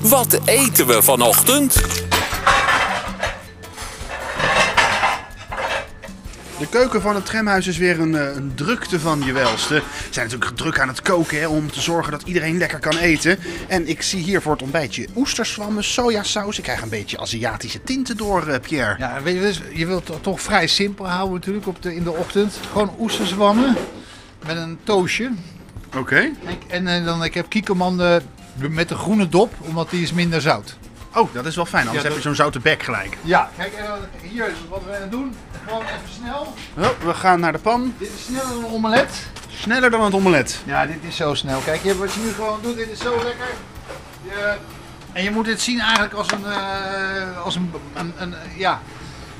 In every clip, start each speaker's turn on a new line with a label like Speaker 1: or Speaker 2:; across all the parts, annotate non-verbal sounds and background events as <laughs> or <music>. Speaker 1: Wat eten we vanochtend?
Speaker 2: De keuken van het tramhuis is weer een, eh, een drukte van je welste. Ze zijn natuurlijk druk aan het koken hè, om te zorgen dat iedereen lekker kan eten. En ik zie hier voor het ontbijtje oesterswammen, sojasaus. Ik krijg een beetje Aziatische tinten door, eh, Pierre.
Speaker 3: Ja, weet je, dus je wilt het toch vrij simpel houden natuurlijk op de, in de ochtend. Gewoon oesterzwammen met een toosje.
Speaker 2: Oké.
Speaker 3: En, en, eh, dan ik heb kiekerman eh, met de groene dop, omdat die is minder zout.
Speaker 2: Oh, dat is wel fijn, anders
Speaker 3: Ja,
Speaker 2: heb
Speaker 3: dat-
Speaker 2: je zo'n zoute bek gelijk.
Speaker 3: Ja, kijk, en dan- hier is wat we aan het doen. Gewoon even snel.
Speaker 2: Oh, we gaan naar de pan.
Speaker 3: Dit is sneller dan een omelet.
Speaker 2: Sneller dan het omelet.
Speaker 3: Ja, dit is zo snel. Kijk, je, wat je nu gewoon doet, dit is zo lekker. Je- en je moet dit zien eigenlijk als een, eh, als een, een, een, ja,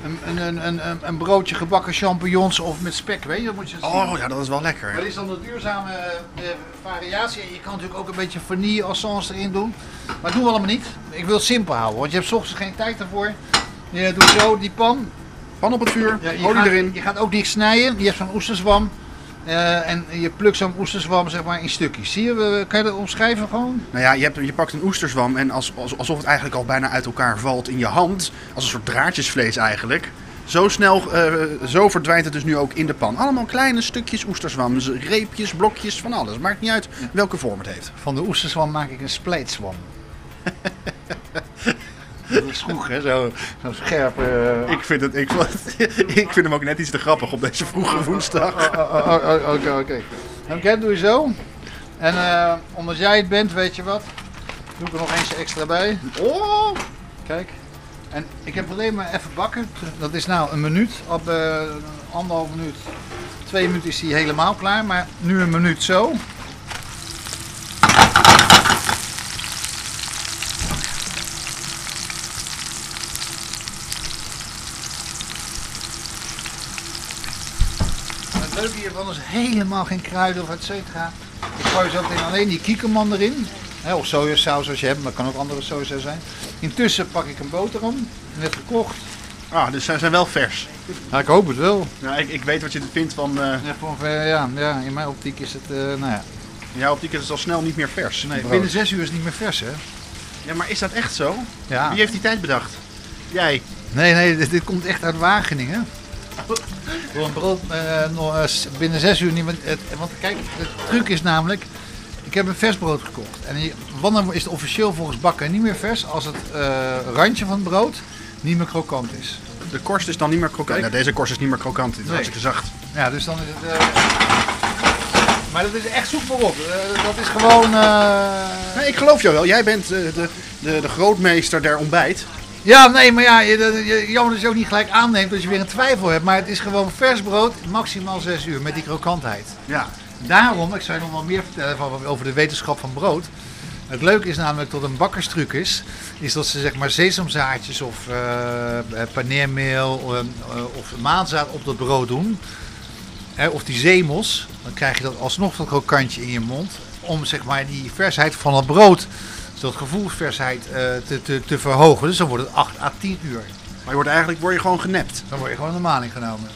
Speaker 3: een, een, een, een, een- een broodje gebakken champignons of met spek, weet je? Dat moet je zien.
Speaker 2: Oh ja, dat is wel lekker.
Speaker 3: Dat is dan de duurzame eh, variatie. En je kan natuurlijk ook een beetje vanille essence erin doen. Maar dat doen we allemaal niet. Ik wil het simpel houden, want je hebt 's ochtends geen tijd daarvoor. Je doet zo die pan.
Speaker 2: Pan op het vuur,
Speaker 3: Ja, je,
Speaker 2: olie
Speaker 3: gaat,
Speaker 2: erin.
Speaker 3: je gaat ook niks snijden. Je hebt zo'n oesterzwam. eh, en je plukt zo'n oesterzwam zeg maar, in stukjes. Zie je, we- kan je dat omschrijven gewoon?
Speaker 2: Nou ja, je, hebt, je pakt een oesterzwam en als, als- alsof het eigenlijk al bijna uit elkaar valt in je hand. Als een soort draadjesvlees eigenlijk. Zo snel, eh, zo verdwijnt het dus nu ook in de pan. Allemaal kleine stukjes oesterzwam, z- reepjes, blokjes, van alles. Maakt niet uit welke vorm het heeft.
Speaker 3: Van de oesterzwam maak ik een splijtzwam. <laughs> dat is vroeg, hè? Zo- Zo'n scherpe... eh,
Speaker 2: Ik vind, het, <laughs> ik, ik vind hem ook net iets te grappig op deze vroege woensdag.
Speaker 3: Oh, oh, oh, oh, Oké, oké. Oké, doe je zo. En eh, omdat jij het bent, weet je wat, doe ik er nog eens extra bij.
Speaker 2: Oh!
Speaker 3: Kijk. En ik heb alleen maar even bakken. Dat is nou een minuut. Op eh anderhalf minuut, twee minuten is die helemaal klaar. Maar nu een minuut zo. En Het leuke hiervan is helemaal geen kruiden of et cetera. Ik gooi zo meteen alleen die kiekerman erin. Hè, of sojasaus als je hebt, maar het kan ook andere sojasaus zijn. Intussen pak ik een boterham, net gekocht.
Speaker 2: Ah, dus zij zijn wel vers.
Speaker 3: Ja, ik hoop het wel.
Speaker 2: Nou, ik, ik weet wat je vindt van... eh
Speaker 3: Ja, voor ongeveer, ja, ja, in mijn optiek is het, eh, nou ja.
Speaker 2: jouw optiek is het al snel niet meer vers. Nee,
Speaker 3: Binnen zes uur is het niet meer vers, hè?
Speaker 2: Ja, maar is dat echt zo?
Speaker 3: Ja.
Speaker 2: Wie heeft die tijd bedacht? Jij.
Speaker 3: Nee, nee, dit, dit komt echt uit <laughs> Wageningen. Door een brood eh, nog, eh, s- binnen zes uur niet meer. het- want kijk, de truc is namelijk, ik heb een vers brood gekocht. En je- wanneer is het officieel volgens bakken niet meer vers als het eh, randje van het brood niet meer krokant is.
Speaker 2: De korst is dan niet meer krokant.
Speaker 3: Kijk.
Speaker 2: Ja, deze korst is niet meer krokant. Dit is
Speaker 3: Nee.
Speaker 2: hartstikke zacht.
Speaker 3: Ja, dus dan is het. eh, Maar dat is echt zoek maar op. Eh, dat is gewoon. eh,
Speaker 2: Nee, ik geloof jou wel. Jij bent eh, de, de, de grootmeester der ontbijt.
Speaker 3: Ja, nee, maar ja, je, dat- je, jammer dat je ook niet gelijk aanneemt als je weer een twijfel hebt. Maar het is gewoon vers brood, maximaal zes uur, met die krokantheid.
Speaker 2: Ja.
Speaker 3: Daarom, ik zou je nog wel meer vertellen van, over de wetenschap van brood. Het leuke is namelijk dat een bakkerstruc is, is dat ze zeg maar sesamzaadjes of eh, eh, paneermeel eh, eh, of maanzaad op dat brood doen. Hè, of die zemels, dan krijg je dat alsnog dat krokantje in je mond. Om zeg maar die versheid van het brood, dus dat gevoelsversheid eh, te, te, te verhogen. Dus dan wordt het 8 à 10 uur.
Speaker 2: Maar je wordt eigenlijk word je gewoon genept.
Speaker 3: Dan word je gewoon normaal ingenomen.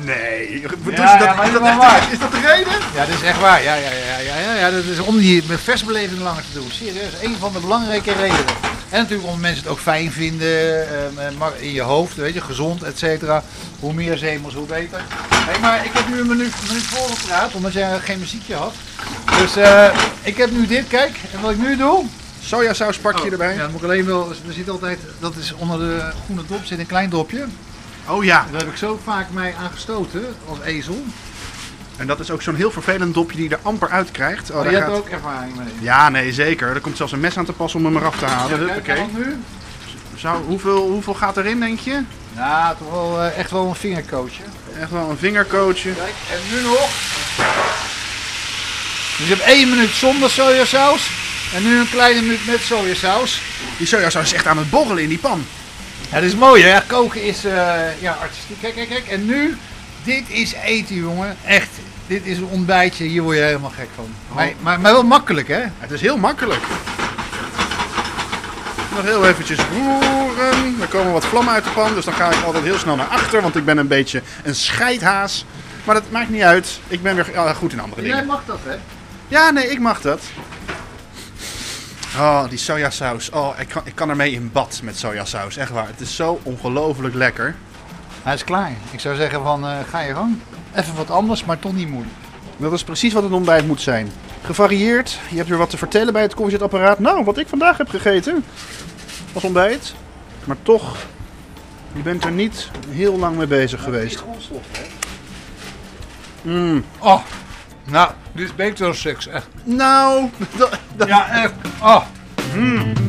Speaker 2: Nee.
Speaker 3: ja, maar
Speaker 2: is,
Speaker 3: dat
Speaker 2: dat
Speaker 3: is
Speaker 2: echt-
Speaker 3: waar.
Speaker 2: is dat de reden?
Speaker 3: Ja, dat is echt waar. Ja, ja, ja, ja, ja, ja. Dat is om die met versbeleving langer te doen. Serieus, een van de belangrijke redenen. En natuurlijk omdat mensen het ook fijn vinden, ehm, eh, maar in je hoofd, weet je, gezond, et cetera. Hoe meer zemels, hoe beter. Hey, maar ik heb nu een minuut, een minuut voorgepraat, omdat jij geen muziekje had. Dus eh, ik heb nu dit, kijk. En wat ik nu doe...
Speaker 2: Sojasaus pak je erbij.
Speaker 3: Oh, Ja, dan moet ik alleen wel... Er zit altijd... Dat is onder de groene dop zit een klein dopje.
Speaker 2: Oh ja.
Speaker 3: Daar heb ik zo vaak mij aangestoten als ezel.
Speaker 2: En dat is ook zo'n heel vervelend dopje die je er amper uit krijgt. Oh,
Speaker 3: Maar
Speaker 2: daar
Speaker 3: je hebt
Speaker 2: gaat-
Speaker 3: ook ervaring mee.
Speaker 2: Ja, nee, zeker. Er komt zelfs een mes aan te pas om hem eraf te halen.
Speaker 3: Kijk,
Speaker 2: Huppakee.
Speaker 3: dan nu.
Speaker 2: Zou, hoeveel, hoeveel gaat erin, denk je?
Speaker 3: Ja, toch wel eh, echt wel een vingercoachje.
Speaker 2: Echt wel een vingercoachje.
Speaker 3: Kijk, en nu nog. Dus je hebt één minuut zonder sojasaus. En nu een kleine minuut met sojasaus.
Speaker 2: Die sojasaus is echt aan het borrelen in die pan.
Speaker 3: Ja, dat is mooi hè. Koken is eh, ja, artistiek. Kijk, kijk, kijk. En nu, dit is eten jongen. Echt, dit is een ontbijtje. Hier word je helemaal gek van. Maar, maar, maar wel makkelijk hè.
Speaker 2: Het is heel makkelijk. Nog heel eventjes roeren. Er komen wat vlammen uit de pan, dus dan ga ik altijd heel snel naar achter, want ik ben een beetje een scheidhaas. Maar dat maakt niet uit. Ik ben weer eh, goed in andere
Speaker 3: Jij
Speaker 2: dingen.
Speaker 3: mag dat hè.
Speaker 2: Ja, nee, ik mag dat. Oh, die sojasaus. Oh, ik kan, ik kan ermee in bad met sojasaus. Echt waar. Het is zo ongelooflijk lekker.
Speaker 3: Hij is klaar. Ik zou zeggen van, eh, ga je gang. Even wat anders, maar toch niet moeilijk.
Speaker 2: Dat is precies wat een ontbijt moet zijn. Gevarieerd. Je hebt weer wat te vertellen bij het koffiezetapparaat. Nou, wat ik vandaag heb gegeten. Als ontbijt. Maar toch, je bent er niet heel lang mee bezig geweest.
Speaker 3: Oh, nou, dit is beter dan seks, echt. <laughs>
Speaker 2: Nou, dat-
Speaker 3: Ja, echt. Oh.